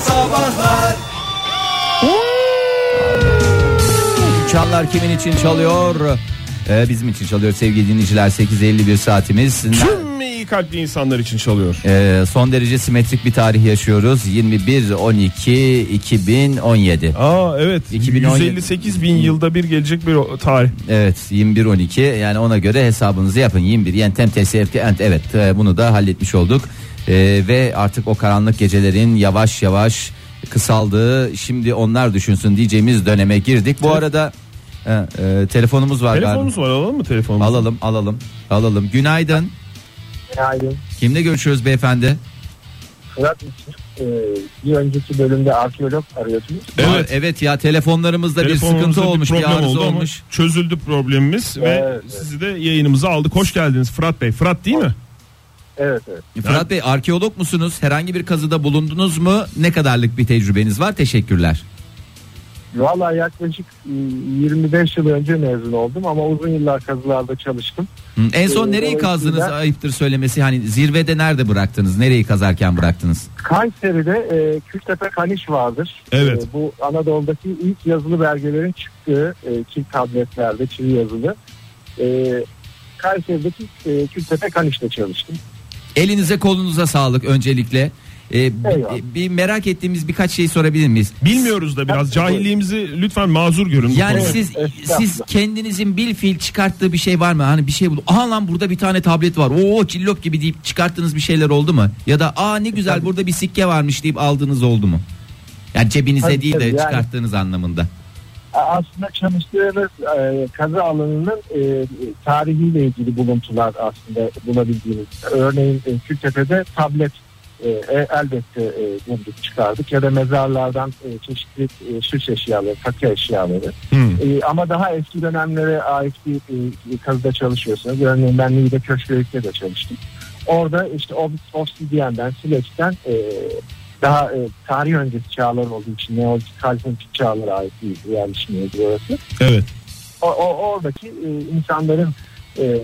Sabahlar Çanlar kimin için çalıyor? Ee, bizim için çalıyor sevgili dinleyiciler 8.51 saatimiz. Tüm iyi kalpli insanlar için çalıyor. Ee, son derece simetrik bir tarih yaşıyoruz. 21 12 2017. Aa evet. 2017 158 bin yılda bir gelecek bir o- tarih. Evet 21 12 yani ona göre hesabınızı yapın. 21 yani tem tesi erke- ent- evet e, bunu da halletmiş olduk. Ee, ve artık o karanlık gecelerin yavaş yavaş kısaldığı şimdi onlar düşünsün diyeceğimiz döneme girdik. Bu arada e, e, telefonumuz var galiba. Telefonumuz var alalım mı telefonumuzu? Alalım alalım alalım. Günaydın. Günaydın. Kimle görüşüyoruz beyefendi? Fırat için e, bir önceki bölümde arkeolog arıyordunuz. Evet. Evet. evet ya telefonlarımızda bir Telefonumuzda sıkıntı olmuş, bir, problem arıza oldu ama olmuş. çözüldü problemimiz ve Evet. sizi de yayınımıza aldık. Hoş geldiniz Fırat Bey. Fırat değil mi? Evet evet. Fırat Bey arkeolog musunuz? Herhangi bir kazıda bulundunuz mu? Ne kadarlık bir tecrübeniz var? Teşekkürler. Valla yaklaşık e, 25 yıl önce mezun oldum ama uzun yıllar kazılarda çalıştım. Hı, En son Ee, nereyi dolayısıyla- kazdınız? Ayıptır söylemesi. Hani zirvede nerede bıraktınız? Nereyi kazarken bıraktınız? Kayseri'de e, Kültepe Kaniş vardır. Evet. E, bu Anadolu'daki ilk yazılı belgelerin çıktığı e, çivi tabletlerde çivi yazılı. E, Kayseri'deki e, Kültepe Kaniş'te çalıştım. Elinize kolunuza sağlık öncelikle. Ee, bi- Eyvallah. e, bir merak ettiğimiz birkaç şey sorabilir miyiz? Bilmiyoruz da biraz cahilliğimizi lütfen mazur görün. bu Yani konuda. siz Estağfurullah. siz kendinizin bil fiil çıkarttığı bir şey var mı? Hani bir şey buldu. Aha lan burada bir tane tablet var. Oo cillop gibi deyip çıkarttığınız bir şeyler oldu mu? Ya da aa ne güzel burada bir sikke varmış deyip aldığınız oldu mu? Yani cebinize Tabii, değil de tabii, yani. çıkarttığınız anlamında. aslında çalıştığımız e, kazı alanının e, tarihiyle ilgili buluntular aslında bulabildiğimiz. Örneğin e, Kültepe'de tablet e, e, elbette e, bulduk çıkardık ya da mezarlardan e, çeşitli e, süs eşyaları, takı eşyaları. Hmm. E, ama daha eski dönemlere ait bir e, kazıda çalışıyorsunuz. Örneğin ben Niğde Köşköyük'te de çalıştım. Orada işte ob- obsidiyenden, sileçten e, daha e, tarih öncesi çağlar olduğu için Neolitik Kalkıntik çağlara ait bir yerleşim yeri orası. Evet. O, o- oradaki e, insanların e,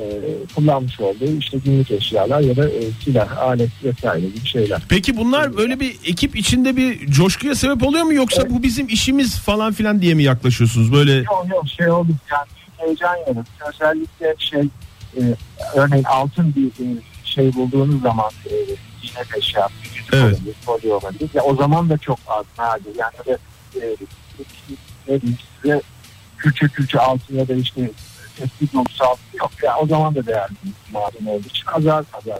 kullanmış olduğu işte günlük eşyalar ya da e, silah, alet vesaire gibi şeyler. Peki bunlar böyle bir ekip içinde bir coşkuya sebep oluyor mu yoksa bu bizim işimiz falan filan diye mi yaklaşıyorsunuz böyle? Yok yok şey oldu yani büyük heyecan yaratıyor. Özellikle şey e, örneğin altın bir e, şey bulduğunuz zaman e, ziynet eşyası, yüzük Evet. olabilir, kolye olabilir. Ya, o zaman da çok az nadir. Yani böyle e, ne diyeyim size külçe külçe altın ya da işte tespit notusu altın yok. Ya, o zaman da değerli bir maden olduğu için azar azar.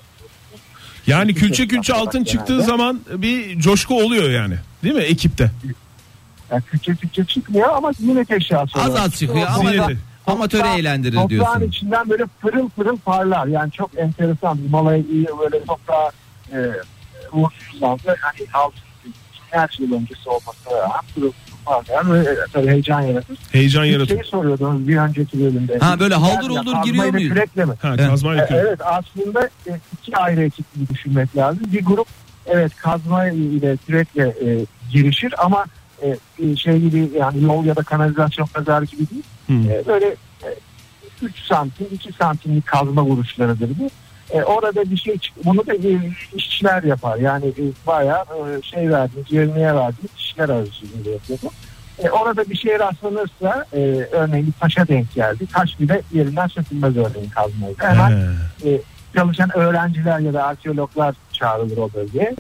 Yani külçe külçe altın çıktığı zaman bir coşku oluyor yani. Değil mi ekipte? Yani külçe külçe çıkmıyor ama ziynet eşyası. Az olarak az çıkıyor ama Zineti. da amatör Toprağın- eğlendirir Toprağın diyorsun. içinden böyle pırıl pırıl parlar. Yani çok enteresan. Himalaya iyi böyle toprağa e, uğursuzlandı. Hani altın her yıl öncesi olması rağmen pırıl pırıl parlar. Ve, e, tabii heyecan yaratır. Heyecan Bir yaratıyor. şey soruyordunuz bir önceki bölümde. Ha, böyle haldır Yani huldur kazmayla giriyor muyuz? kürekle mi? Ha, Evet. kazmayla E, kürek. Evet aslında e, iki ayrı ekip gibi düşünmek lazım. Bir grup evet kazma ile kürekle e, girişir ama e, e, şey gibi yani yol ya da kanalizasyon kazarı gibi değil. Hmm. E, böyle 3 santim 2 santimlik kazma vuruşlarıdır bu. E, orada bir şey çık- bunu da e, işçiler yapar. Yani e, bayağı e, şey verdiğimiz, yevmiye verdiğimiz işçiler aracılığıyla yapıyor. bu. E, orada bir şey rastlanırsa e, örneğin bir taşa denk geldi. Taş bile yerinden sökülmez örneğin kazmayı. Hemen He. çalışan öğrenciler ya da arkeologlar çağrılır o bölgeye.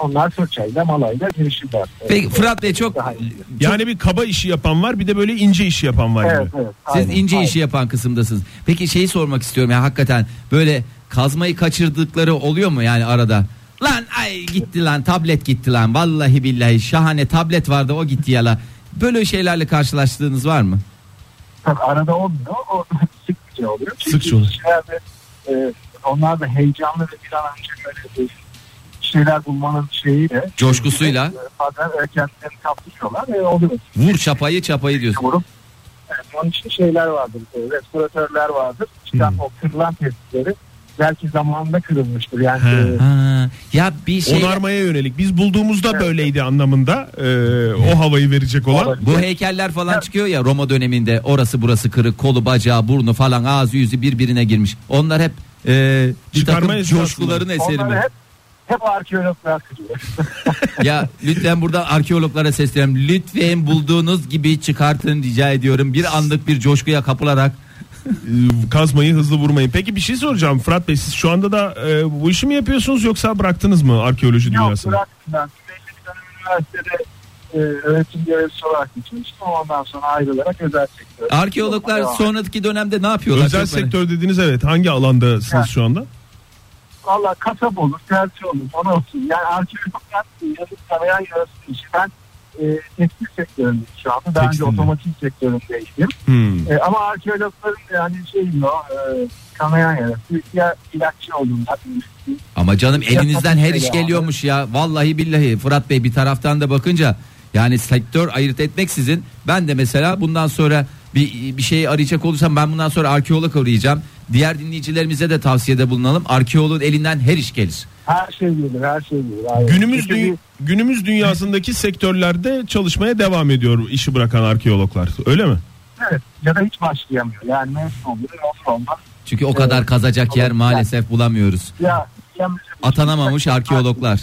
Onlar fırçayla malayla girişirler. Peki Fırat Bey çok Daha iyi. Yani bir kaba işi yapan var bir de böyle ince işi yapan var Evet, gibi. evet, Siz aynen, ince aynen. işi yapan kısımdasınız. Peki şeyi sormak istiyorum ya hakikaten böyle kazmayı kaçırdıkları oluyor mu yani arada? Lan ay gitti lan tablet gitti lan vallahi billahi şahane tablet vardı o gitti yala. Böyle şeylerle karşılaştığınız var mı? Tabii arada olmuyor. O sıkça oluyor. Çünkü Sıkça oluyor. kişiler de, e, onlar da heyecanlı ve bir an önce böyle e, şeyler bulmanın şeyiyle. Coşkusuyla. E, Bazen e, kendilerini kaptırıyorlar ve oluyor. Vur çapayı çapayı diyorsun. Vurup. Evet, onun için şeyler vardır. E, restoratörler vardır. Çıkan Hmm. o kırılan testleri belki zamanında kırılmıştır. Yani He. e, Ha, ya bir şey Onarmaya yönelik. Biz bulduğumuzda böyleydi anlamında e, o havayı verecek olan. Olabilir. bu heykeller falan çıkıyor ya Roma döneminde orası burası kırık kolu bacağı burnu falan ağzı yüzü birbirine girmiş. Onlar hep e, bir Çıkarma takım esnasında. coşkuların eseri mi? Onları hep Hep arkeologlar kırıyor. Ya lütfen buradan arkeologlara sesleniyorum. Lütfen bulduğunuz gibi çıkartın rica ediyorum. Bir anlık bir coşkuya kapılarak Ee, Kazmayı hızlı vurmayın. Peki bir şey soracağım Fırat Bey siz şu anda da e, bu işi mi yapıyorsunuz yoksa bıraktınız mı arkeoloji Yok dünyasını? bıraktım ben. Belli bir dönem üniversitede e, öğretim görevlisi olarak geçmiştim. Ondan sonra ayrılarak özel sektör. arkeologlar Devam. sonraki dönemde ne yapıyorlar? Özel Çok merak- sektör dediğiniz evet hangi alandasınız Ha. şu anda? Valla kasap olur, tersi olur, ona olsun. Yani arkeologlar yazıp tarayan yarasın işi. Ben e, tekstil sektöründeyim şu anda. Daha önce Tekstil mi? otomotiv sektöründeydim. Hmm. E, ama arkeologların yani şeyin o e, kanayan yarası ya ilaççı olduğunda Ama canım elinizden her iş Ya. geliyormuş ya. Vallahi billahi Fırat Bey bir taraftan da bakınca yani sektör ayırt etmeksizin ben de mesela bundan sonra bir bir şey arayacak olursam ben bundan sonra arkeolog arayacağım. Diğer dinleyicilerimize de tavsiyede bulunalım. Arkeoloğun elinden her iş gelir. her şey gelir, her şey gelir. Aynen. Günümüz Çünkü dü- günümüz dünyasındaki sektörlerde çalışmaya devam ediyor işi bırakan arkeologlar. Öyle mi? Evet, ya da hiç başlayamıyor. Yani mevsim oluyor, olsun olmaz. Çünkü o kadar Evet. kazacak yer Evet. maalesef bulamıyoruz. Ya, ya Atanamamış arkeologlar.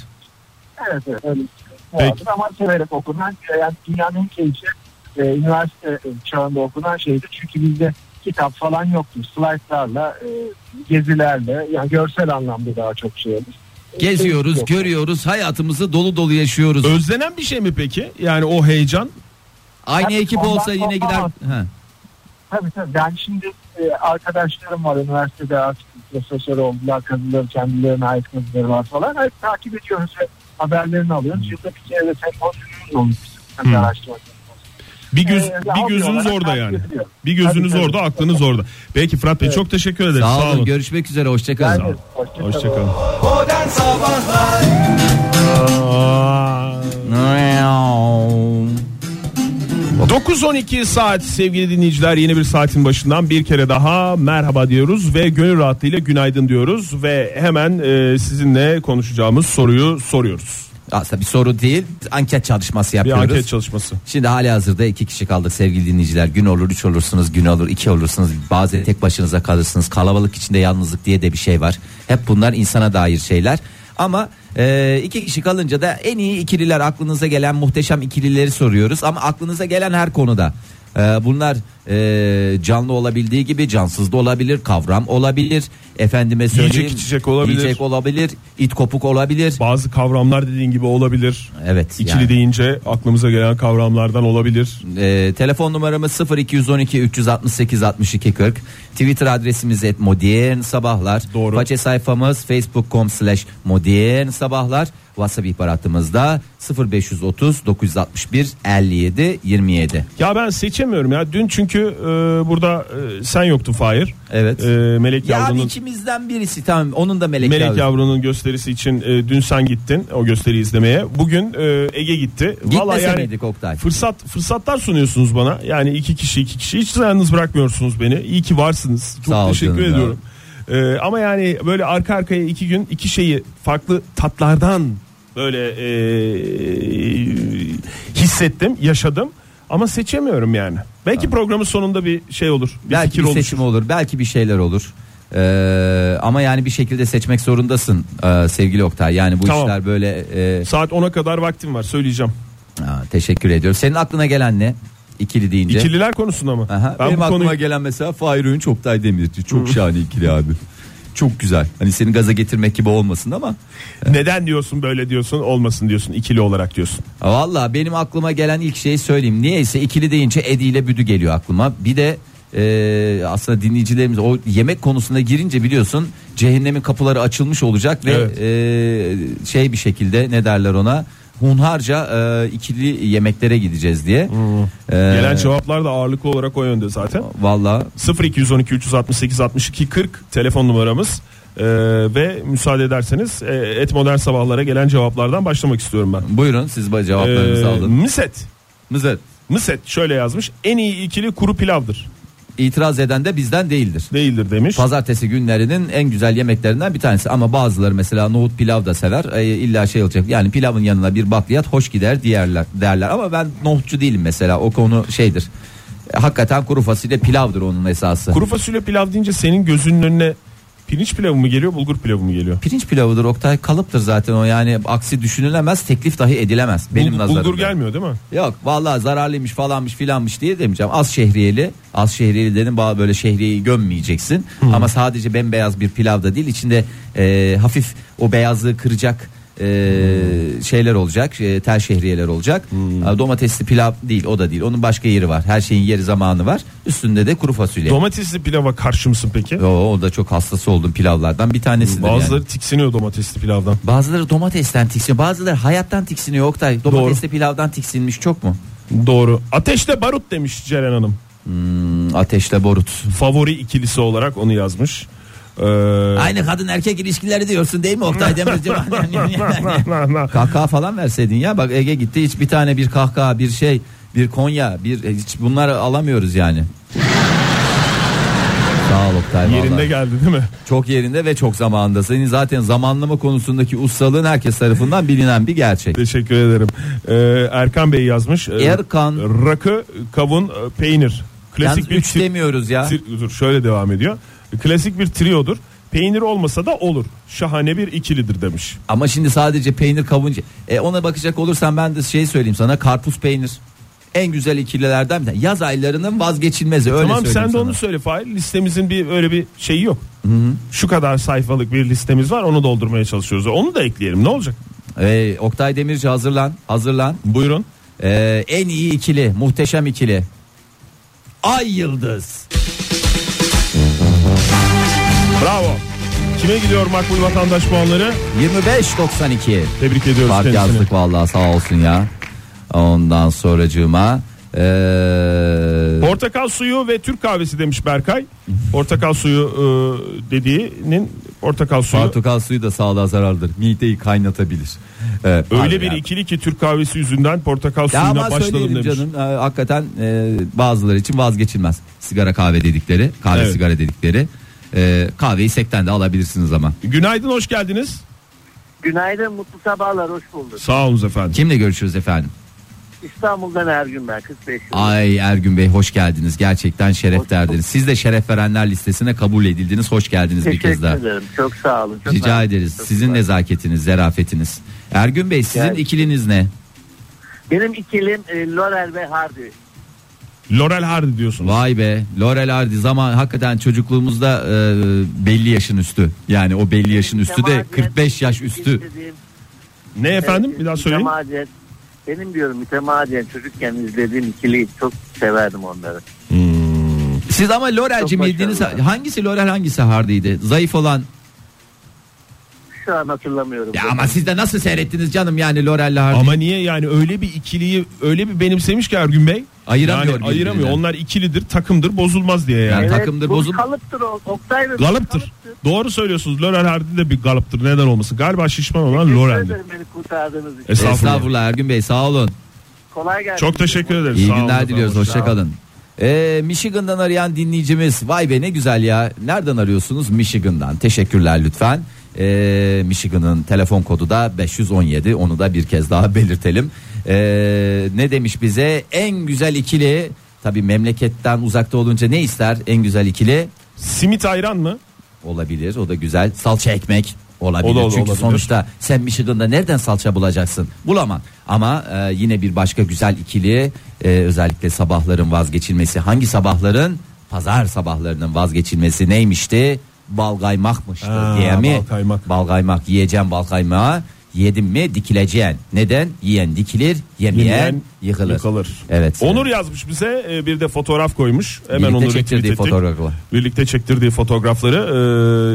Evet, evet. Öyle. şey. Peki. Peki. Ama severek okunan, yani dünyanın en keyifli e, üniversite çağında okunan şeydi. Çünkü bizde kitap falan yoktu. Slaytlarla, e, gezilerle, yani görsel anlamda daha çok şey olmuş. E, Geziyoruz, yok. görüyoruz, hayatımızı dolu dolu yaşıyoruz. Özlenen bir şey mi peki? Yani o heyecan. Aynı Evet, ekip ondan olsa yine gider. olmaz. Ha. Tabii tabii. Ben şimdi e, arkadaşlarım var üniversitede artık profesör oldular. Kazıları kendilerine ait kazıları var falan. Hep takip ediyoruz ve haberlerini alıyoruz. Yılda bir kere de sempozyumumuz olmuş. bizim. Hmm. Araştırma sempozyumu. Bir göz E, bir hobi gözünüz olarak orada takip yani. ediyorum. Bir gözünüz Tabii, orada, tabii. aklınız orada. Peki Fırat Bey çok teşekkür ederim. Sağ olun, görüşmek üzere, Ben hoşçakalın. de- olun. hoşçakalın. Hoşçakalın. Modern Sabahlar Aa. 9.12 saat sevgili dinleyiciler yeni bir saatin başından bir kere daha merhaba diyoruz ve gönül rahatlığıyla günaydın diyoruz ve hemen e, sizinle konuşacağımız soruyu soruyoruz. Aslında bir soru değil, anket çalışması Bir yapıyoruz. anket çalışması. Şimdi hali hazırda iki kişi kaldık sevgili dinleyiciler. Gün olur, üç olursunuz, gün olur, iki olursunuz. Bazen tek başınıza kalırsınız. Kalabalık içinde yalnızlık diye de bir şey var. Hep bunlar insana dair şeyler. Ama e, iki kişi kalınca da en iyi ikililer aklınıza gelen muhteşem ikilileri soruyoruz. Ama aklınıza gelen her konuda. E, bunlar e, canlı olabildiği gibi cansız da olabilir, kavram olabilir. Efendime söyleyeyim. içecek olabilir. Yiyecek olabilir, it kopuk olabilir. Bazı kavramlar dediğin gibi olabilir. Evet. İkili yani. deyince aklımıza gelen kavramlardan olabilir. Ee, telefon numaramız 0212 368 62 40. Twitter adresimiz et modern sabahlar. Doğru. Façe sayfamız facebook.com slash modern sabahlar. WhatsApp ihbar hattımızda 0530 961 57 27. Ya ben seçemiyorum ya. Dün çünkü e, burada e, sen yoktun Fahir. Evet. E, Melek Yani Yavru'nun içimizden birisi tamam onun da melek, Melek yavrusu. Yavru'nun gösterisi için e, dün sen gittin o gösteriyi izlemeye. Bugün e, Ege gitti. Vallahi Gitmese yani miydik Oktay? fırsat fırsatlar sunuyorsunuz bana. Yani iki kişi iki kişi hiç yalnız bırakmıyorsunuz beni. İyi ki varsınız. Çok Sağ ol teşekkür canım ya. ediyorum. E, ama yani böyle arka arkaya iki gün iki şeyi farklı tatlardan böyle e, hissettim, yaşadım. Ama seçemiyorum yani. Belki programın sonunda bir şey olur. Bir belki fikir bir olur. seçim olur belki bir şeyler olur Ee, ama yani bir şekilde seçmek zorundasın ee, sevgili Oktay yani bu Tamam. işler böyle e, Saat 10'a kadar vaktim var söyleyeceğim. Aa, teşekkür ediyorum. Senin aklına gelen ne? İkili deyince. İkililer konusunda mı? Aha, ben benim bu aklıma konuyu gelen mesela Fahir Öğünç Oktay Demirci. Çok şahane ikili abi. Çok güzel. Hani seni gaza getirmek gibi olmasın ama. neden diyorsun böyle diyorsun olmasın diyorsun ikili olarak diyorsun. Valla benim aklıma gelen ilk şeyi söyleyeyim. Niyeyse ikili deyince Edi ile Büdü geliyor aklıma. Bir de e, aslında dinleyicilerimiz o yemek konusunda girince biliyorsun cehennemin kapıları açılmış olacak ve Evet. e, şey bir şekilde ne derler ona hunharca e, ikili yemeklere gideceğiz diye. E, Gelen cevaplar da ağırlıklı olarak o yönde zaten. Valla 0212 368 62 40 telefon numaramız. Ee, ve müsaade ederseniz e, et modern sabahlara gelen cevaplardan başlamak istiyorum ben. Buyurun siz ba- cevaplarınızı Ee, alın. Miset. Mızır. Miset şöyle yazmış. En iyi ikili kuru pilavdır. İtiraz eden de bizden değildir. Değildir demiş. Pazartesi günlerinin en güzel yemeklerinden bir tanesi ama bazıları mesela nohut pilav da sever. E, illa şey olacak. Yani pilavın yanına bir bakliyat hoş gider diğerler derler ama ben nohutçu değilim mesela. O konu şeydir. E, hakikaten kuru fasulye pilavdır onun esası. Kuru fasulye pilav deyince senin gözünün önüne Pirinç pilavı mı geliyor bulgur pilavı mı geliyor? Pirinç pilavıdır Oktay kalıptır zaten o yani aksi düşünülemez teklif dahi edilemez benim Bulgur- nazarımda. bulgur gelmiyor değil mi? Yok vallahi zararlıymış falanmış filanmış diye demeyeceğim. Az şehriyeli, az şehriyeli dedim ba- böyle şehriyeyi gömmeyeceksin. Ama sadece bembeyaz bir pilav da değil içinde e, hafif o beyazlığı kıracak e, şeyler olacak. e, tel şehriyeler olacak. Ha, Domatesli pilav değil o da değil. Onun başka yeri var. Her şeyin yeri zamanı var. Üstünde de kuru fasulye. Domatesli pilava karşı mısın peki? o, o da çok hastası oldum pilavlardan bir tanesidir Bazıları yani. tiksiniyor domatesli pilavdan. Bazıları domatesten tiksiniyor. Bazıları hayattan tiksiniyor Oktay. Domatesli pilavdan tiksinmiş çok mu? Doğru. Ateşle barut demiş Ceren Hanım. Hmm, Ateşle borut. Favori ikilisi olarak onu yazmış. Ee, Aynı kadın erkek ilişkileri diyorsun değil mi Oktay Demirci? kahkaha falan verseydin ya bak Ege gitti hiç bir tane bir kahkaha bir şey bir Konya bir hiç bunları alamıyoruz yani. Sağ ol Oktay yerinde vallahi. geldi değil mi? Çok yerinde ve çok zamanında. Senin zaten zamanlama konusundaki ustalığın herkes tarafından bilinen bir gerçek. Teşekkür ederim. Ee, Erkan Bey yazmış. Ee, Erkan. Rakı, kavun, e, peynir. Yalnız Klasik bir 3 tri- demiyoruz ya. tri- dur, şöyle devam ediyor. Klasik bir triodur. Peynir olmasa da olur. Şahane bir ikilidir demiş. Ama şimdi sadece peynir kavunca. E ona bakacak olursan ben de şey söyleyeyim sana karpuz peynir. En güzel ikililerden bir tane. Yaz aylarının vazgeçilmezi öyle tamam söyleyeyim sen de sana. onu söyle Fahir. Listemizin bir öyle bir şeyi yok. Şu kadar sayfalık bir listemiz var. Onu doldurmaya çalışıyoruz. Onu da ekleyelim. Ne olacak? Ee, Oktay Demirci hazırlan, hazırlan. Buyurun. Ee, en iyi ikili, muhteşem ikili. Ay Yıldız. Bravo. Kime gidiyor makbul vatandaş puanları? 25.92. Tebrik ediyoruz Fark kendisini. yazdık vallahi sağ olsun ya. Ondan sonracığıma ee, Portakal suyu ve Türk kahvesi demiş Berkay. Portakal suyu e, dediğinin portakal suyu portakal suyu da sağlığa zarardır. Mideyi kaynatabilir. Ee, öyle pardon bir ya. ikili ki Türk kahvesi yüzünden portakal Ya suyuna ama başladım söyleyelim demiş. canım e, hakikaten e, bazıları için vazgeçilmez. Sigara kahve dedikleri, kahve Evet. sigara dedikleri. E, kahveyi sekten de alabilirsiniz ama. Günaydın hoş geldiniz. Günaydın, mutlu sabahlar, hoş bulduk. Sağ olun efendim. Kimle görüşürüz efendim? İstanbul'dan Ergün ben, 45 yaşındayım. Ay Ergün Bey hoş geldiniz. Gerçekten şeref Hoş bulduk. derdiniz. Siz de şeref verenler listesine kabul edildiniz. Hoş geldiniz bir kez Teşekkür daha. ederim, çok sağ olun. Çok Rica nazik, ederiz. çok Sizin sağ olun. nezaketiniz, zerafetiniz. Ergün Bey sizin Yani- ikiliniz ne? Benim ikilim e, Lorel ve Hardy. Lorel Hardy diyorsunuz. Vay be. Laurel Hardy zaman hakikaten çocukluğumuzda e, belli yaşın üstü. Yani o belli yaşın üstü de Mütemadiyen 45 yaş üstü. izlediğim- Ne efendim Evet, bir daha söyleyin. mütemadiyen- e, Benim diyorum mütemadiyen çocukken izlediğim ikiliyi çok severdim onları. Siz ama Lorel'cim Çok yediğiniz başarılı. hangisi Lorel hangisi Hardy'ydi? Zayıf olan. Şu an hatırlamıyorum. Ya ama siz de nasıl seyrettiniz canım yani Lorel'le Hardy? Ama niye yani öyle bir ikiliyi öyle bir benimsemiş ki Ergün Bey? Ayıramıyor Yani birbirinden. ayıramıyor. Onlar ikilidir, takımdır, bozulmaz diye yani. Yani takımdır, bu bozul- Kalıptır o. Oktay Bey, Galıptır. Doğru söylüyorsunuz. Lorel Hardy de bir galıptır. Neden olmasın? Galiba şişman olan Teşekkür Lorel'dir. ederim beni kurtardığınız için. Estağfurullah. Estağfurullah Ergün Bey sağ olun. Kolay gelsin. Çok teşekkür ederiz. İyi Sağ olun günler efendim. diliyoruz. Sağ olun. Hoşçakalın. Ee, Michigan'dan arayan dinleyicimiz vay be ne güzel ya nereden arıyorsunuz Michigan'dan teşekkürler lütfen ee, Michigan'ın telefon kodu da 517 onu da bir kez daha belirtelim Ee, ne demiş bize en güzel ikili tabi memleketten uzakta olunca ne ister en güzel ikili Simit ayran mı? Olabilir o da güzel. Salça ekmek olabilir. O da- o da Çünkü olabilir. sonuçta sen Michigan'da nereden salça bulacaksın? Bulamam. Ama e, yine bir başka güzel ikili e, özellikle sabahların vazgeçilmesi. Hangi sabahların? Pazar sabahlarının vazgeçilmesi neymişti? Bal kaymakmıştı Ha, diye mi? bal kaymak. Bal kaymak. Yiyeceğim bal kaymağı. Yedim mi dikileceksin. Neden? Yiyen dikilir, yemeyen, Yemeyen yıkılır. yıkılır. Evet. Onur yazmış bize e, bir de fotoğraf koymuş. Hemen Birlikte Onur'u çektirdiği retweet ettik. fotoğraflar. Birlikte çektirdiği fotoğrafları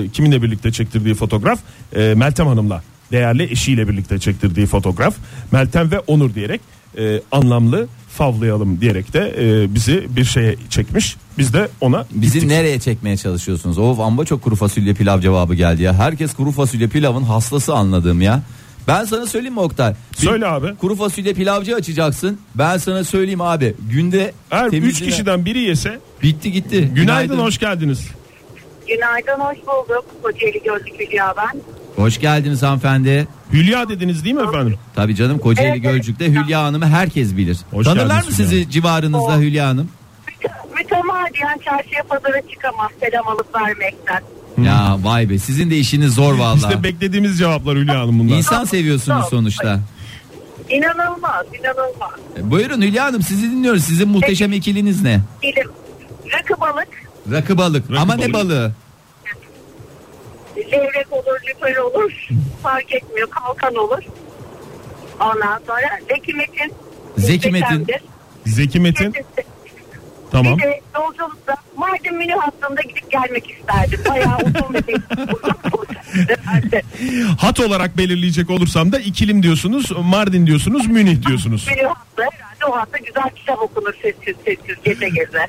e, kiminle birlikte çektirdiği fotoğraf? E, Meltem Hanım'la değerli eşiyle birlikte çektirdiği fotoğraf. Meltem ve Onur diyerek e, anlamlı favlayalım diyerek de e, bizi bir şeye çekmiş. Biz de ona Bizi gittik. nereye çekmeye çalışıyorsunuz? Of amba çok kuru fasulye pilav cevabı geldi ya. Herkes kuru fasulye pilavın hastası anladığım ya. Ben sana söyleyeyim mi Oktay? Bir Söyle abi. Kuru fasulye pilavcı açacaksın. Ben sana söyleyeyim abi. Günde Eğer 3 temizliğine- kişiden biri yese bitti gitti. Günaydın, günaydın hoş geldiniz. Günaydın, hoş bulduk. Kocaeli Gözlük Hülya ben. Hoş geldiniz hanımefendi. Hülya dediniz değil mi efendim? Tabii canım Kocaeli Evet, evet. Gölcük'te Hülya Hanım'ı herkes bilir. Hoş Tanırlar mı geldiniz Hülya sizi civarınızda Oo. Hülya Hanım? Mütemadiyen çarşıya pazara çıkamam selam alıp vermekten. Ya vay be sizin de işiniz zor vallahi. İşte beklediğimiz cevaplar Hülya Hanım bunlar. İnsan seviyorsunuz sonuçta. İnanılmaz, inanılmaz. E, Buyurun Hülya Hanım sizi dinliyoruz. Sizin muhteşem ikiliniz ne? Bilim. Rakı balık, Rakı balık. Rakı Ama ne balık. balığı? levrek olur, lüfer olur. Fark etmiyor, kalkan olur. Ondan sonra Zeki Metin. Zeki Metin. muhteşemdir. Zeki Metin Kesinlikle. tamam. Bir de yolculukta Mardin Mini Hattı'nda gidip gelmek isterdim. Bayağı uzun bir değil. Hat olarak belirleyecek olursam da ikilim diyorsunuz, Mardin diyorsunuz, Münih diyorsunuz. Mini Hattı herhalde o hatta güzel kitap okunur sessiz sessiz gece gece.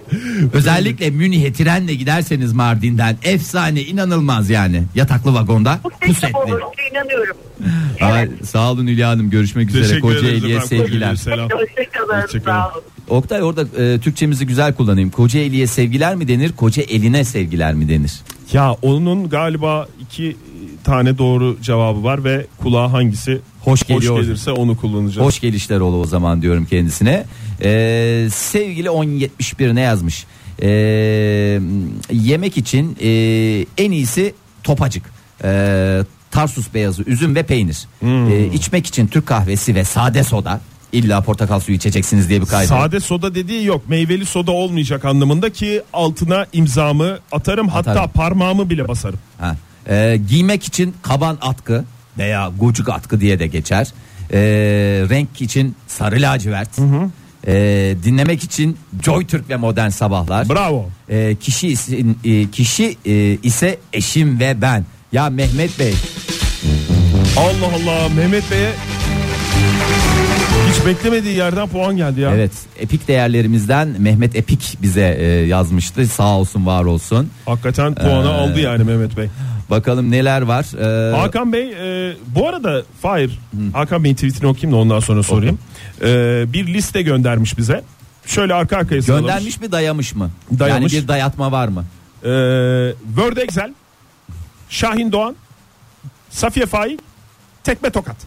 Özellikle Münih'e trenle giderseniz Mardin'den efsane inanılmaz yani. Yataklı vagonda Bu sessiz pusetli. olur inanıyorum. Ay, sağ olun Hülya Hanım görüşmek üzere. Teşekkür ederiz Kocaeli'ye efendim. Kocaeli'ye sevgiler. Selam. Hoşçakalın. Hoşçakalın. Sağ olun. Oktay orada e, Türkçemizi güzel kullanayım. Kocaeli'ye sevgiler mi denir? Koca eline sevgiler mi denir? Ya onun galiba iki e, tane doğru cevabı var ve kulağa hangisi Hoş geliyor. gelirse onu kullanacağız. Hoş gelişler ol o zaman diyorum kendisine. Ee, sevgili 1071 ne yazmış? Ee, yemek için e, en iyisi topacık. Ee, tarsus beyazı, üzüm ve peynir. Ee, içmek için Türk kahvesi ve sade soda. İlla portakal suyu içeceksiniz diye bir kaydı. Sade soda dediği yok. Meyveli soda olmayacak anlamında ki altına imzamı atarım hatta Atarım. parmağımı bile basarım. Ha. Ee, giymek için kaban atkı veya gocuk atkı diye de geçer. Ee, renk için sarı lacivert. Ee, dinlemek için Joy Türk ve Modern Sabahlar. Bravo. Ee, kişi isin- e, kişi e, ise eşim ve ben. Ya Mehmet Bey Allah Allah Mehmet Bey'e hiç beklemediği yerden puan geldi ya. evet epik değerlerimizden Mehmet Epik bize e, yazmıştı. Sağ olsun var olsun. Hakikaten puanı Ee, aldı yani Mehmet Bey. Bakalım neler var. Ee, Hakan Bey e, bu arada Fahir Hakan Bey'in tweetini okuyayım da ondan sonra sorayım. E, bir liste göndermiş bize. Şöyle arka arkaya sıralamış. göndermiş mi dayamış mı? Dayamış. Yani bir dayatma var mı? E, Word Excel, Şahin Doğan, Safiye Faik, Tekme Tokat.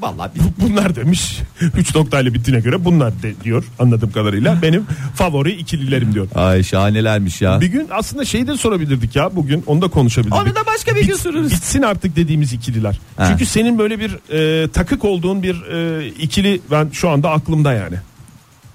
Vallahi bir- Bunlar demiş. 3 noktayla bittiğine göre bunlar de, diyor anladığım kadarıyla. Benim favori ikililerim diyor. Ay şahanelermiş ya. Bir gün aslında şeyi de sorabilirdik ya bugün onu da konuşabilirdik. Onu da başka bir gün sorarız. Bitsin artık dediğimiz ikililer. Ha. Çünkü senin böyle bir e, takık olduğun bir e, ikili ben şu anda aklımda yani.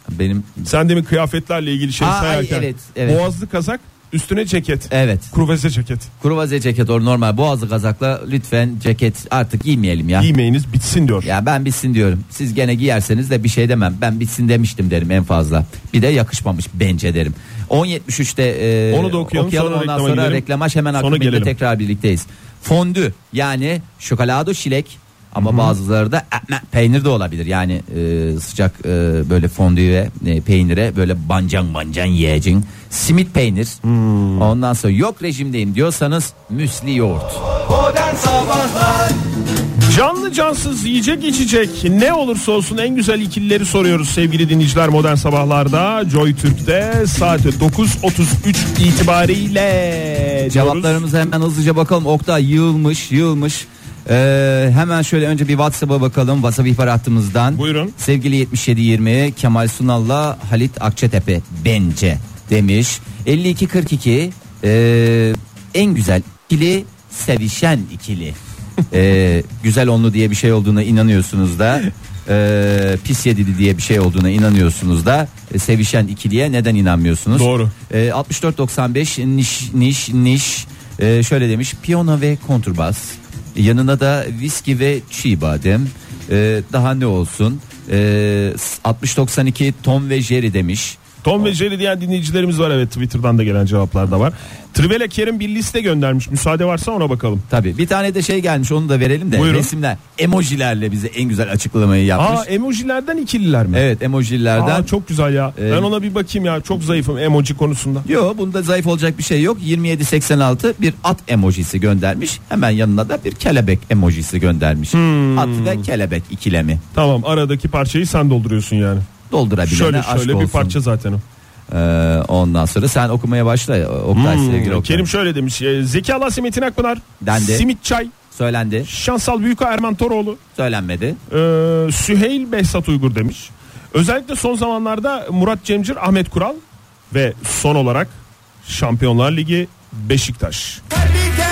Benim Sen demin kıyafetlerle ilgili şey Aa, ay, sayarken evet, evet. boğazlı kazak üstüne ceket. evet. Kruveze ceket. Kruvaze ceket or normal boğazlı kazakla lütfen ceket artık giymeyelim ya. Giymeyiniz bitsin diyor. Ya ben bitsin diyorum. Siz gene giyerseniz de bir şey demem. Ben bitsin demiştim derim en fazla. Bir de yakışmamış bence derim. 10.73'te e, Onu da okuyalım, sonra ondan reklama sonra gidelim. reklamaş hemen Sonra akabinde gelelim. tekrar birlikteyiz. Fondü yani şokolado şilek ama bazıları da ekmek, peynir de olabilir. Yani e, sıcak e, böyle fondüye e, peynire böyle bancan bancan yiyeceksin. Simit peynir. Hmm. Ondan sonra yok rejimdeyim diyorsanız müsli yoğurt. Modern Sabahlar Canlı cansız yiyecek içecek ne olursa olsun en güzel ikilileri soruyoruz sevgili dinleyiciler modern sabahlarda Joy Türk'te saat 9.33 itibariyle diyoruz. Cevaplarımıza hemen hızlıca bakalım. Oktay yığılmış yığılmış. Ee, hemen şöyle önce bir WhatsApp'a bakalım. WhatsApp ihbar hattımızdan. Buyurun. Sevgili 7720 Kemal Sunal'la Halit Akçatepe bence demiş. 5242 ee, en güzel ikili sevişen ikili. Ee, güzel onlu diye bir şey olduğuna inanıyorsunuz da ee, pis yedili diye bir şey olduğuna inanıyorsunuz da e, sevişen ikiliye neden inanmıyorsunuz? Doğru. E, 64.95 niş niş niş E, şöyle demiş piyano ve kontrbas yanına da viski ve çiğ badem E, daha ne olsun e, 60.92 Tom ve Jerry demiş Tom ve Jerry diyen dinleyicilerimiz var evet Twitter'dan da gelen cevaplar da var. Trivela Kerim bir liste göndermiş müsaade varsa ona bakalım. Tabi bir tane de şey gelmiş onu da verelim de Buyurun. resimler emojilerle bize en güzel açıklamayı yapmış. Aa emojilerden ikililer mi? evet emojilerden. Aa, çok güzel ya. Ee, ben ona bir bakayım ya. Çok zayıfım emoji konusunda. Yok bunda zayıf olacak bir şey yok. 2786 bir at emojisi göndermiş. Hemen yanına da bir kelebek emojisi göndermiş. Hmm. At ve kelebek ikilemi. Tamam aradaki parçayı sen dolduruyorsun yani. doldurabilene Şöyle aşk şöyle olsun. bir parça zaten o. Ee, ondan sonra sen okumaya başla Oktay Hmm, sevgili Oktay. Kerim şöyle demiş. e, Zeki Alasya Metin Akpınar. Dendi. Simit Çay. Söylendi Şansal Büyüka Erman Toroğlu. söylenmedi. e, Süheyl Behzat Uygur demiş. Özellikle son zamanlarda Murat Cemcir, Ahmet Kural ve son olarak Şampiyonlar Ligi Beşiktaş. Kalbinde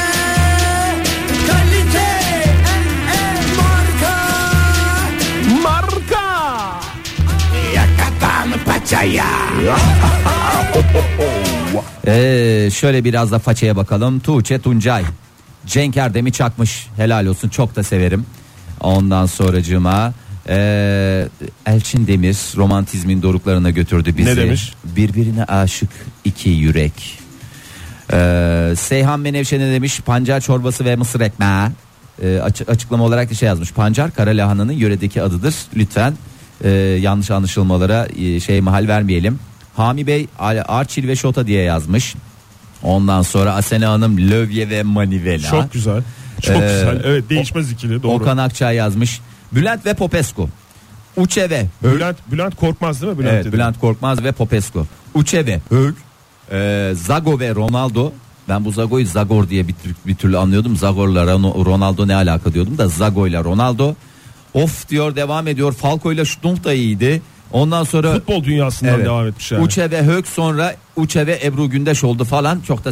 Ee, şöyle biraz da façaya bakalım. Tuğçe Tuncay. Cenk Erdem'i çakmış. Helal olsun çok da severim. Ondan sonracığıma ee, Elçin Demir romantizmin doruklarına götürdü bizi. Ne demiş? Birbirine aşık iki yürek. Ee, Seyhan Menevşe ne demiş? Pancar çorbası ve mısır ekmeği. Ee, aç- açıklama olarak da şey yazmış. Pancar kara lahananın yöredeki adıdır. Lütfen e, yanlış anlaşılmalara e, şey mahal vermeyelim. Hami Bey Ar- Arçil ve Şota diye yazmış. Ondan sonra Asena Hanım Lövye ve Manivela. Çok güzel. Çok Ee, güzel. Evet değişmez ikili doğru. Okan Akçay yazmış. Bülent ve Popescu. Uçeve. Bülent Bülent korkmaz değil mi Bülent? evet, dedi. Bülent Korkmaz ve Popescu. Uçeve. Hög. Ee, Zago ve Ronaldo. Ben bu Zago'yu Zagor diye bir, tür- bir türlü anlıyordum. Zagor'la Ron- Ronaldo ne alaka diyordum da Zago'yla Ronaldo. Of diyor devam ediyor. Falco'yla Şutunk da iyiydi. Ondan sonra Futbol dünyasından devam etmiş yani. Uçe ve Hök sonra Uçe ve Ebru Gündeş oldu falan. Çok da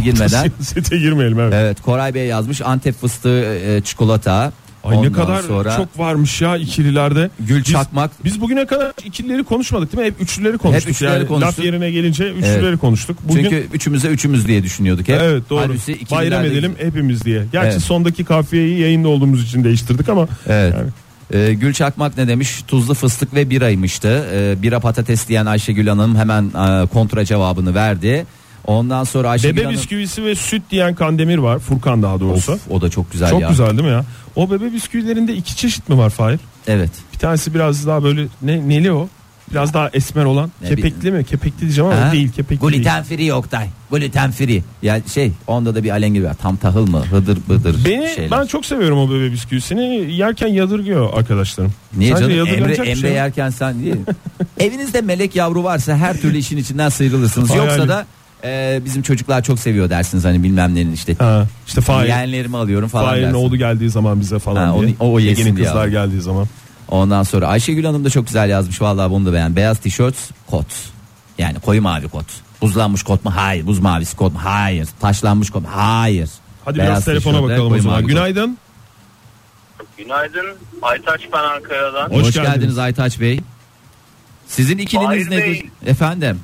girmeden. Siyasete girmeyelim evet. Evet Koray Bey yazmış Antep fıstığı e, çikolata. Ay ne Ondan kadar sonra çok varmış ya ikililerde. Gül Biz- Çakmak. Biz bugüne kadar ikilileri konuşmadık değil mi? Hep üçlüleri konuştuk. üçlüleri yani konuştuk. Laf yerine gelince üçlüleri Evet. konuştuk. Bugün Çünkü üçümüze üçümüz diye düşünüyorduk hep. Evet doğru. Halbuki ikililerde- Bayram edelim hepimiz diye. Gerçi Evet. sondaki kafiyeyi yayında olduğumuz için değiştirdik ama Evet. yani Ee, Gül Çakmak ne demiş? Tuzlu fıstık ve biraymıştı. Ee, bira patates diyen Ayşegül Hanım hemen e, kontra cevabını verdi. Ondan sonra Ayşegül bebe Hanım bisküvisi ve süt diyen Kandemir var. Furkan daha doğrusu. Of, o da çok güzel Çok ya. güzel değil mi ya? O bebe bisküvilerinde iki çeşit mi var Fahir? Evet. Bir tanesi biraz daha böyle ne, neli o? Biraz daha esmer olan. Ne kepekli mi? Kepekli diyeceğim ama Ha? değil kepekli değil. Gluten free Oktay. Gluten free. Yani şey onda da bir alengi var. Tam tahıl mı? Hıdır bıdır Beni şeyler. ben çok seviyorum o bebe bisküvisini. Yerken yadırgıyor arkadaşlarım. Niye Sadece canım Emre, yadırganacak bir Emre şey yok. yerken sen niye? Evinizde melek yavru varsa her türlü işin içinden sıyrılırsınız. Hayal Yoksa et. da e, bizim çocuklar çok seviyor dersiniz hani bilmem nenin işte. Ha, işte Fahir. Yeğenlerimi alıyorum falan Fahir'in dersin. oğlu geldiği zaman bize falan Ha, diye. onu- o yesin Yeni diye kızlar aldım. geldiği zaman. Ondan sonra Ayşegül Hanım da çok güzel yazmış. Vallahi bunu da beğen. Beyaz tişört, kot. Yani koyu mavi kot. Buzlanmış kot mu? Hayır. Buz mavisi kot mu? Hayır. Taşlanmış kot mu? Hayır. Hadi Beyaz biraz telefona tişörtler, bakalım o koyu mavi zaman. kot. Günaydın. Günaydın. Aytaç ben Ankara'dan. Hoş, Hoş geldiniz. geldiniz Aytaç Bey. Sizin ikiliniz Hayır nedir? Bey. Efendim.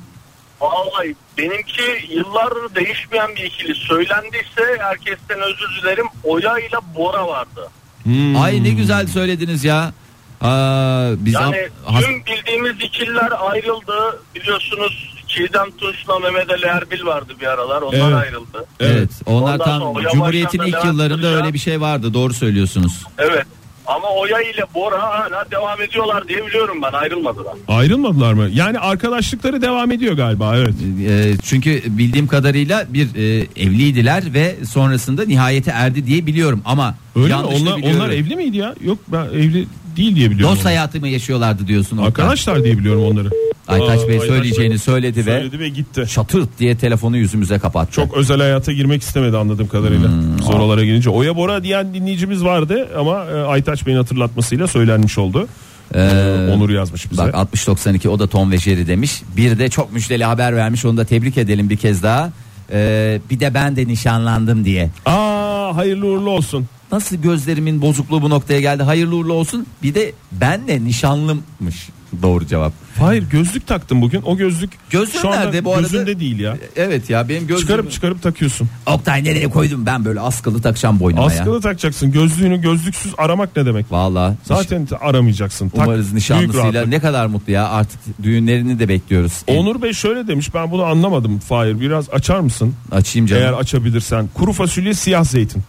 Vallahi benimki yıllardır değişmeyen bir ikili. Söylendiyse herkesten özür dilerim. Oya ile Bora vardı. Hmm, Ay ne güzel söylediniz ya. Aa, biz Yani Has- tüm bildiğimiz ikililer ayrıldı. Biliyorsunuz Çiğdem Tunç'la Mehmet Ali Erbil vardı bir aralar. Onlar Evet. ayrıldı. Evet, onlar Ondan tam sonra Oya Cumhuriyet'in Başkan'la ilk Levent yıllarında Kırca- öyle bir şey vardı. Doğru söylüyorsunuz. Evet. Ama Oya ile Bora hala devam ediyorlar diye biliyorum ben ayrılmadılar. Ayrılmadılar mı? Yani arkadaşlıkları devam ediyor galiba evet. Ee, çünkü bildiğim kadarıyla bir e, evliydiler ve sonrasında nihayete erdi diye biliyorum ama Öyle mi? yanlış da Onlar, biliyorum. onlar evli miydi ya? Yok ben evli değil diye biliyorum. Dost onları. hayatı mı yaşıyorlardı diyorsun Oktay? Arkadaşlar diye biliyorum onları. Aytaç Aa, Bey söyleyeceğini Bey söyledi ve söyledi ve gitti. çatırt diye telefonu yüzümüze kapattı. Çok özel hayata girmek istemedi anladığım kadarıyla. Hmm, Sorulara girince. Oya Bora diyen dinleyicimiz vardı ama e, Aytaç Bey'in hatırlatmasıyla söylenmiş oldu. Ee, Onur yazmış bize. Bak 60-92 o da Tom ve Jerry demiş. Bir de çok müjdeli haber vermiş onu da tebrik edelim bir kez daha. Ee, bir de ben de nişanlandım diye. Aa hayırlı uğurlu olsun. Nasıl gözlerimin bozukluğu bu noktaya geldi hayırlı uğurlu olsun. Bir de benle nişanlımmış doğru cevap. Hayır gözlük taktım bugün. O gözlük Gözlüğün şu anda nerede bu arada? gözünde değil ya. Evet ya benim gözlüğüm. Çıkarıp çıkarıp takıyorsun. Oktay nereye koydum ben böyle askılı takacağım boynuma ya. Askılı takacaksın. Gözlüğünü gözlüksüz aramak ne demek? Valla. Zaten te- aramayacaksın. Tak, Umarız büyük nişanlısıyla rahatlık. ne kadar mutlu ya artık düğünlerini de bekliyoruz. Onur Bey şöyle demiş ben bunu anlamadım Fahir biraz açar mısın? Açayım canım. Eğer açabilirsen. Kuru fasulye siyah zeytin.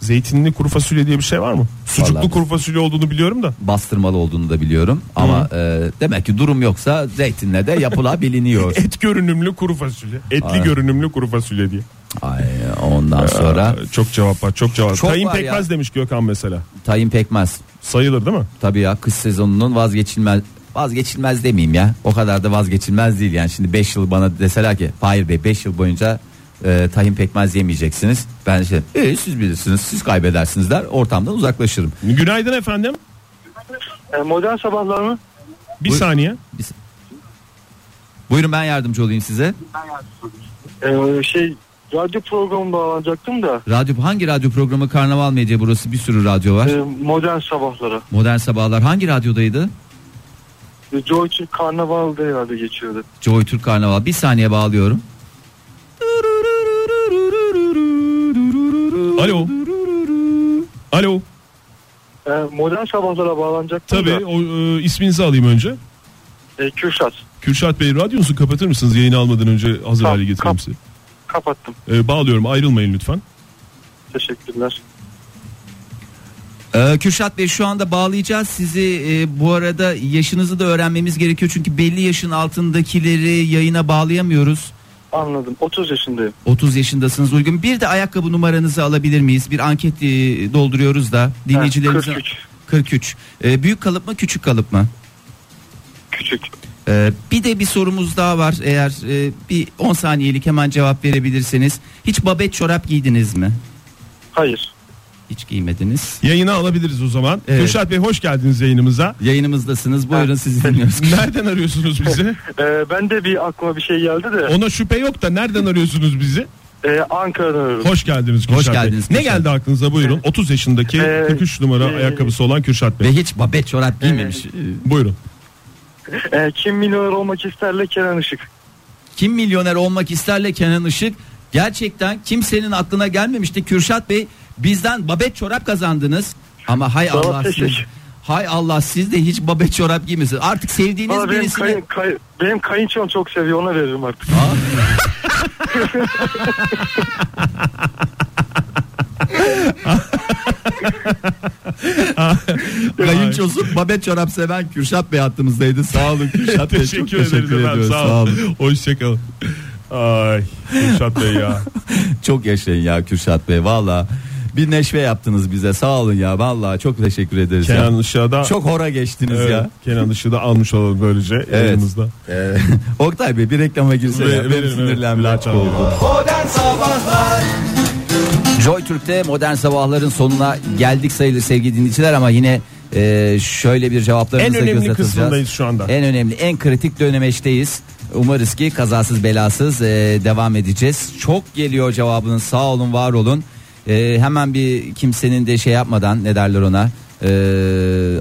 Zeytinli kuru fasulye diye bir şey var mı? Sucuklu Vallahi- kuru fasulye olduğunu biliyorum da. Bastırmalı olduğunu da biliyorum ama e, demek ki durum yoksa zeytinle de yapılabiliyor. Et görünümlü kuru fasulye. Etli Aynen. görünümlü kuru fasulye diye. Ay, ondan sonra Aa, çok cevap var çok cevap. Çok Tayin var ya. pekmez demiş Gökhan mesela. tayin pekmez. Sayılır değil mi? Tabii ya kış sezonunun vazgeçilmez vazgeçilmez demeyeyim ya. O kadar da vazgeçilmez değil yani. Şimdi 5 yıl bana deseler ki Fahir Bey 5 yıl boyunca e, tahin pekmez yemeyeceksiniz. Ben şey "E, siz bilirsiniz siz kaybedersiniz der ortamdan uzaklaşırım. Günaydın efendim. modern sabahlarını Bir Buyur. saniye. Buyurun ben yardımcı olayım size. şey radyo programı bağlanacaktım da Radyo hangi radyo programı Karnaval Medya E, burası bir sürü radyo var. modern sabahları. Modern Sabahlar hangi radyodaydı? Joy Türk Karnaval'da herhalde geçiyordu. Joy Türk Karnaval. Bir saniye bağlıyorum. Alo. Alo. E, modern sabahlara bağlanacaktım Tabii da. o, e, isminizi alayım önce. E, Kürşat. Kürşat Bey radyonuzu kapatır mısınız? Yayını almadan önce hazır Kap- hale getireyim kap- size. Kapattım. E, bağlıyorum ayrılmayın lütfen. Teşekkürler. Ee, Kürşat Bey şu anda bağlayacağız sizi Ee, bu arada yaşınızı da öğrenmemiz gerekiyor çünkü belli yaşın altındakileri yayına bağlayamıyoruz. Anladım. 30 yaşındayım. 30 yaşındasınız uygun. Bir de ayakkabı numaranızı alabilir miyiz? Bir anket e, dolduruyoruz da dinleyicilerimize. Ha, 43. 43. Ee, büyük kalıp mı küçük kalıp mı? Küçük. Ee, bir de bir sorumuz daha var eğer e, bir 10 saniyelik hemen cevap verebilirseniz. Hiç babet çorap giydiniz mi? Hayır. Hiç giymediniz. Yayına alabiliriz o zaman. Evet. Kürşat Bey hoş geldiniz yayınımıza. Yayınımızdasınız buyurun sizi dinliyoruz. Nereden arıyorsunuz bizi? E, ben de bir aklıma bir şey geldi de. Ona şüphe yok da nereden arıyorsunuz bizi? E, Ankara'dan arıyorum. Hoş geldiniz Kürşat Hoş Bey. geldiniz Ne Kürşat. geldi aklınıza buyurun. 30 yaşındaki Ee, 43 numara e, ayakkabısı olan Kürşat Bey. Ve hiç babet çorap giymemiş. Ee, Buyurun. E, kim milyoner olmak isterle Kenan Işık. Kim milyoner olmak isterle Kenan Işık gerçekten kimsenin aklına gelmemişti. Kürşat Bey bizden babet çorap kazandınız. Ama hay Baba Allah siz, teşekkür. hay Allah siz de hiç babet çorap giymiyorsunuz. Artık sevdiğiniz Aa, benim, birisini kayın, kay- benim kayınçom çok seviyor ona veririm artık. kayınçosu babet çorap seven Kürşat Bey hattımızdaydı. Sağ olun Kürşat Bey. Çok Teşekkür ederiz efendim. ediyoruz. Sağ olun. Hoşçakalın. Ay Kürşat Bey ya. Çok yaşayın ya Kürşat Bey valla. Bir neşve yaptınız bize sağ olun ya valla çok teşekkür ederiz. ya. Kenan Işık'a da Çok hora geçtiniz Evet, ya. Kenan Işık'ı da almış olalım böylece yanımızda. Ee, Oktay Bey bir reklama girse Ve- ya. Benim verelim, evet. sinirlenme Laçan oldu. Modern Sabahlar Joy Türk'te modern sabahların sonuna geldik sayılır sevgili dinleyiciler ama yine e, şöyle bir cevaplarımızı En önemli göz atacağız. kısmındayız şu anda. En önemli, en kritik dönemeçteyiz. Umarız ki kazasız belasız e, devam edeceğiz. Çok geliyor cevabınız sağ olun var olun. E, hemen bir kimsenin de şey yapmadan ne derler ona e,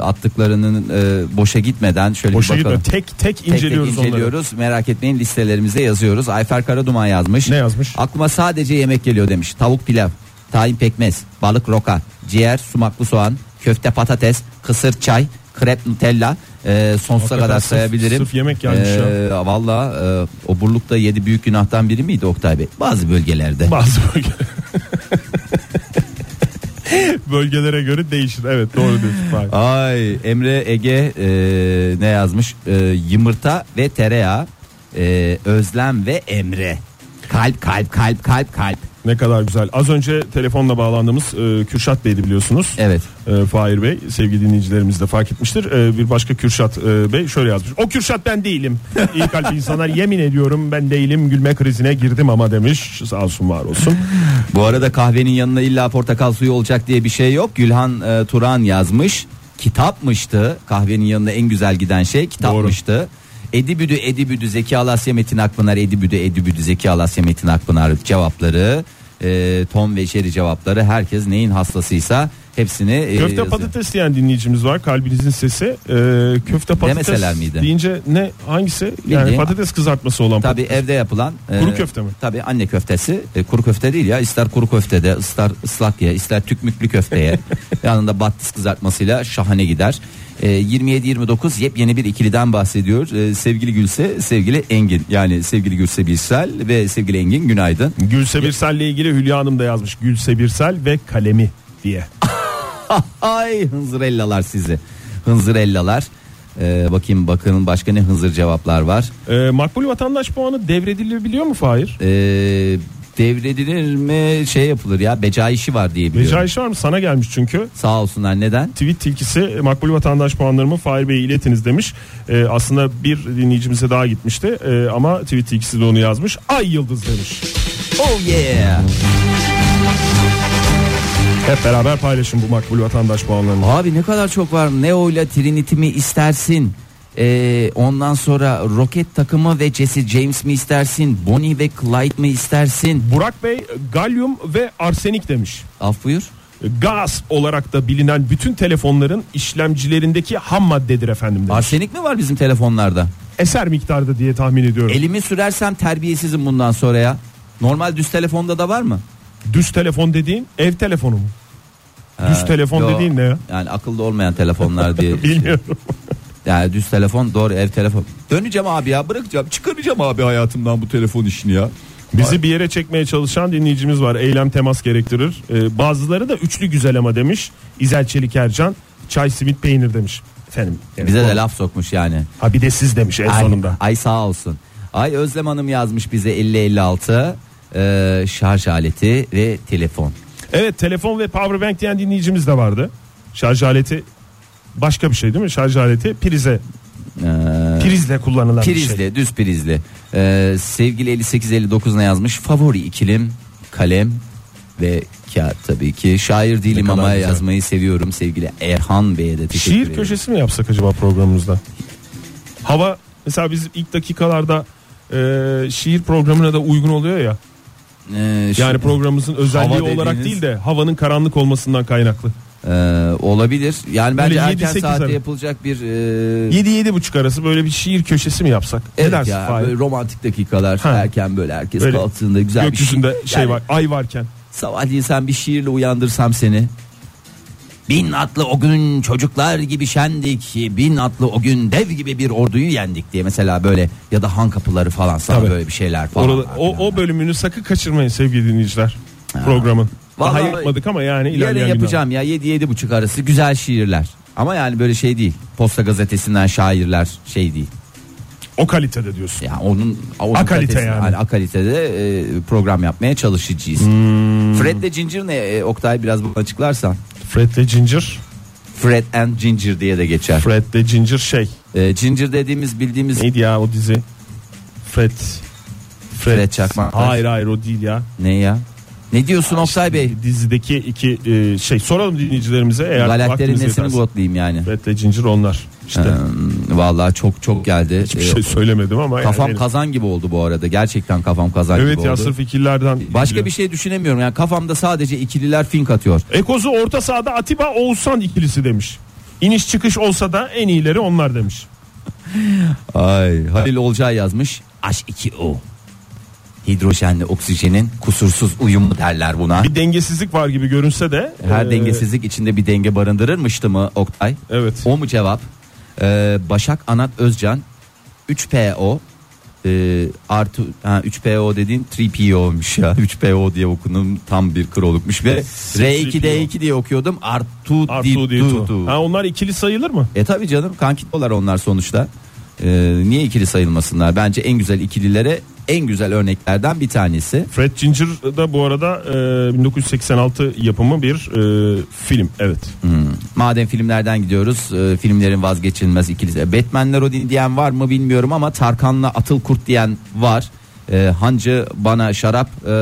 attıklarının e, boşa gitmeden şöyle Boşa bir bakalım. gitme. Tek tek Tek tek inceliyoruz, onları. inceliyoruz. Merak etmeyin listelerimize yazıyoruz. Ayfer Karaduman yazmış. Ne yazmış? Aklıma sadece yemek geliyor demiş. Tavuk pilav, tahin pekmez, balık roka, ciğer, sumaklı soğan, köfte patates, kısır çay, krep nutella. Ee, sonsuza Hakikaten kadar sırf- sayabilirim. sırf yemek gelmiş ya. Valla e, o burlukta yedi büyük günahtan biri miydi Oktay Bey? Bazı bölgelerde. Bazı bölge. Bölgelere göre değişir. Evet doğru diyorsun. Fahir. Ay Emre Ege e, ne yazmış? E, yumurta ve tereyağı, e, özlem ve Emre. Kalp kalp kalp kalp kalp. Ne kadar güzel. Az önce telefonla bağlandığımız e, Kürşat Bey'di biliyorsunuz. Evet. E, Fahir Bey sevgili dinleyicilerimiz de fark etmiştir. E, bir başka Kürşat e, Bey şöyle yazmış. O Kürşat ben değilim. İyi kalp insanlar yemin ediyorum ben değilim. Gülme krizine girdim ama demiş. Sağ olsun var olsun. Bu arada kahvenin yanına illa portakal suyu olacak diye bir şey yok. Gülhan e, Turan yazmış. Kitapmıştı. Kahvenin yanına en güzel giden şey kitapmıştı. Edibüdü Edibüdü Zeki Alasya Metin Akpınar Edibüdü Edibüdü Zeki Alasya Metin Akpınar cevapları e, Tom ve Jerry cevapları herkes neyin hastasıysa hepsini e, Köfte yazıyor. patates diyen dinleyicimiz var. Kalbinizin sesi. E, köfte Demeseler patates miydi? deyince ne hangisi? Bildiğin- Yani patates kızartması olan Tabii evde yapılan e, Kuru köfte mi? Tabii anne köftesi. E, kuru köfte değil ya. ister kuru köfte de, ister ıslak ye, ister tükmüklü köfteye. Yanında battıs kızartmasıyla şahane gider. E, 27-29 yepyeni bir ikiliden bahsediyor. E, sevgili Gülse, sevgili Engin. Yani sevgili Gülse Birsel ve sevgili Engin günaydın. Gülse Birsel'le ilgili Hülya Hanım da yazmış. Gülse Birsel ve kalemi diye. Ay hınzırellalar sizi. Hınzırellalar. E, bakayım bakın başka ne hınzır cevaplar var. Ee, makbul vatandaş puanı devredilebiliyor mu Fahir? E, devredilir mi şey yapılır ya beca işi var diye biliyorum. Recai var mı? Sana gelmiş çünkü. Sağ olsunlar neden? Tweet tilkisi e, makbul vatandaş puanlarımı Fahir Bey'e iletiniz demiş. Ee, aslında bir dinleyicimize daha gitmişti Ee, ama tweet tilkisi de onu yazmış. Ay yıldız demiş. Oh yeah. Hep beraber paylaşın bu makbul vatandaş puanlarını. Abi ne kadar çok var. Neo'yla Trinity mi istersin? Ee, ondan sonra roket takımı ve Jesse James mi istersin? Bonnie ve Clyde mi istersin? Burak Bey galyum ve arsenik demiş. Af buyur. gaz olarak da bilinen bütün telefonların işlemcilerindeki ham maddedir efendim. demiş. Arsenik mi var bizim telefonlarda? Eser miktarda diye tahmin ediyorum. Elimi sürersem terbiyesizim bundan sonra ya. Normal düz telefonda da var mı? Düz telefon dediğin ev telefonu mu? Ha, Düz telefon yo. dediğin ne ya? Yani akıllı olmayan telefonlar diye. Bilmiyorum. yani düz telefon doğru ev telefon. Döneceğim abi ya bırakacağım çıkaracağım abi hayatımdan bu telefon işini ya. Bizi bir yere çekmeye çalışan dinleyicimiz var. Eylem temas gerektirir. Ee, bazıları da üçlü güzel ama demiş. İzel Çelik Ercan çay simit peynir demiş. Efendim. yani Bize bu- de laf sokmuş yani. Ha bir de siz demiş en Ay, sonunda. ay sağ olsun. Ay Özlem Hanım yazmış bize 5056 e, şarj aleti ve telefon. Evet telefon ve powerbank diyen dinleyicimiz de vardı. Şarj aleti başka bir şey değil mi? Şarj aleti prize. Ee, prizle kullanılan bir Prizli şey. düz prizli. E, sevgili 5859'una yazmış favori ikilim kalem ve kağıt tabii ki. Şair değilim Ne kadar ama güzel. yazmayı seviyorum sevgili Erhan Bey'e de teşekkür Şiir ederim. köşesi mi yapsak acaba programımızda? Hava mesela biz ilk dakikalarda e, şiir programına da uygun oluyor ya. E, şu- Yani programımızın özelliği Hava olarak dediğiniz- değil de havanın karanlık olmasından kaynaklı. Ee, olabilir. Yani bence Böyle yedi, erken sekiz saatte arası. yapılacak bir e, 7 buçuk arası böyle bir şiir köşesi mi yapsak? ne evet dersin ya, Fahir? böyle romantik dakikalar Ha. erken böyle herkes Böyle kalktığında güzel Gökyüzünde bir şiir. şey Yani var, ay varken. Sabahleyin sen bir şiirle uyandırsam seni. Bin atlı o gün çocuklar gibi şendik. Bin atlı o gün dev gibi bir orduyu yendik diye mesela böyle ya da han kapıları falan sana Tabii. böyle bir şeyler falan. Orada, o, o bölümünü sakın kaçırmayın sevgili dinleyiciler programın. Daha Vallahi- yapmadık ama yani ilerleyen Yarın günler. yapacağım ya 7 7 buçuk arası güzel şiirler. Ama yani böyle şey değil. Posta gazetesinden şairler şey değil. O kalitede diyorsun. Ya onun, onun Akalite kalitesini- yani. akalitede e, program yapmaya çalışacağız. Hmm. Fred'le Ginger ne e, Oktay biraz bunu açıklarsan. Fred'le Ginger. Fred and Ginger diye de geçer. Fred'le Ginger şey. E, Ginger dediğimiz bildiğimiz Neydi ya o dizi? Fred. Fred Çakmaktaş. Hayır hayır o değil ya. ne ya? Ne diyorsun Oktay şey Bey? Dizideki iki e, şey. Soralım dinleyicilerimize eğer Galatlerin vaktimiz nesini yeterse. botlayayım yani. Fred'le Ginger onlar. İşte Hmm, Vallahi çok çok geldi. hiçbir E, şey söylemedim ama. kafam yani. kazan gibi oldu bu arada. Gerçekten kafam kazan Evet gibi ya oldu. sırf ikililerden. Başka bir şey düşünemiyorum. Yani kafamda sadece ikililer fink atıyor. Ekozu orta sahada Atiba Oğuzhan ikilisi demiş. İniş çıkış olsa da en iyileri onlar demiş. Ay Halil Olcay yazmış. H2O. Hidrojenle oksijenin kusursuz uyumu derler buna. Bir dengesizlik var gibi görünse de. Her e, dengesizlik içinde bir denge barındırırmıştı mı Oktay? Evet. O mu cevap? Ee, Başak Anat Özcan 3PO ee, artı ha, 3PO dediğin 3PO'muş ya. 3PO diye okudum tam bir krolukmuş ve R2D2 diye okuyordum. Artu Artu Ditu. Ditu. Ha, onlar ikili sayılır mı? E tabi canım kankitolar onlar sonuçta. Ee, niye ikili sayılmasınlar? Bence en güzel ikililere en güzel örneklerden bir tanesi. Fred Ginger da bu arada e, 1986 yapımı bir e, film. Evet. Madem filmlerden gidiyoruz, e, filmlerin vazgeçilmez ikilisi. E, Batman'ler o di- diyen var mı bilmiyorum ama Tarkan'la Atıl Kurt diyen var. E, Hancı bana şarap, e,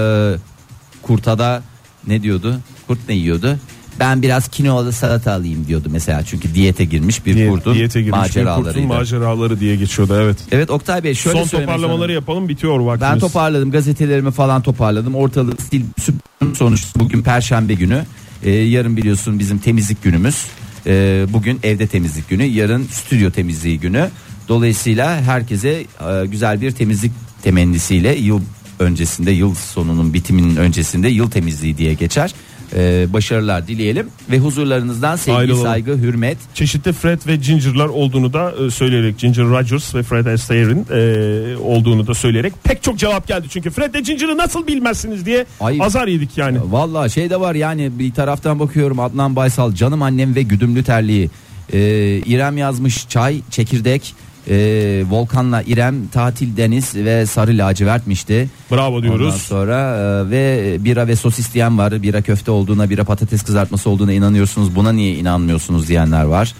kurtada ne diyordu? Kurt ne yiyordu? Ben biraz kinoalı salata alayım diyordu mesela. Çünkü diyete girmiş bir Diyet- kurtun diyete girmiş bir kurtun maceralarıydı. maceraları diye geçiyordu evet. evet Oktay Bey şöyle Son söylemek toparlamaları zorundayım. yapalım bitiyor vaktimiz. Ben toparladım gazetelerimi falan toparladım. Ortalığı stil süpürdüm. Sonuçta bugün perşembe günü. Ee, yarın biliyorsun bizim temizlik günümüz. Ee, bugün evde temizlik günü. Yarın stüdyo temizliği günü. Dolayısıyla herkese e, güzel bir temizlik temennisiyle yıl öncesinde yıl sonunun bitiminin öncesinde yıl temizliği diye geçer. Ee, başarılar dileyelim ve huzurlarınızdan sevgi, Ayrılalım. saygı, hürmet. çeşitli Fred ve Ginger'lar olduğunu da e, söyleyerek Ginger Rogers ve Fred Astaire'in e, olduğunu da söyleyerek pek çok cevap geldi. Çünkü Fred ve Ginger'ı nasıl bilmezsiniz diye Ay. azar yedik yani. Vallahi şey de var yani bir taraftan bakıyorum Adnan Baysal canım annem ve güdümlü terliği. Ee, İrem yazmış çay, çekirdek, ee, Volkan'la İrem tatil deniz ve sarı lacivertmişti. Bravo Ondan diyoruz. sonra e, ve bira ve sosis diyen var. Bira köfte olduğuna, bira patates kızartması olduğuna inanıyorsunuz. Buna niye inanmıyorsunuz diyenler var.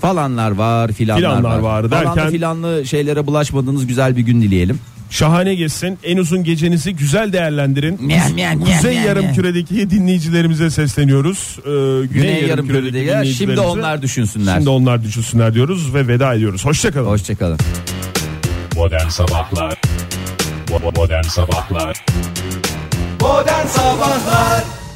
Falanlar var, filanlar, Filanlar var. var Falanlı derken- filanlı şeylere bulaşmadığınız güzel bir gün dileyelim. Şahane geçsin. En uzun gecenizi güzel değerlendirin. Miyav, miyav, miyav, Kuzey miyav, yarım miyav. küredeki dinleyicilerimize sesleniyoruz. Ee, Güney Yarımküre'de de- şimdi dinleyicilerimize- onlar düşünsünler. Şimdi onlar düşünsünler diyoruz ve veda ediyoruz. Hoşçakalın. Hoşçakalın. Modern Sabahlar Bo- Modern Sabahlar Modern Sabahlar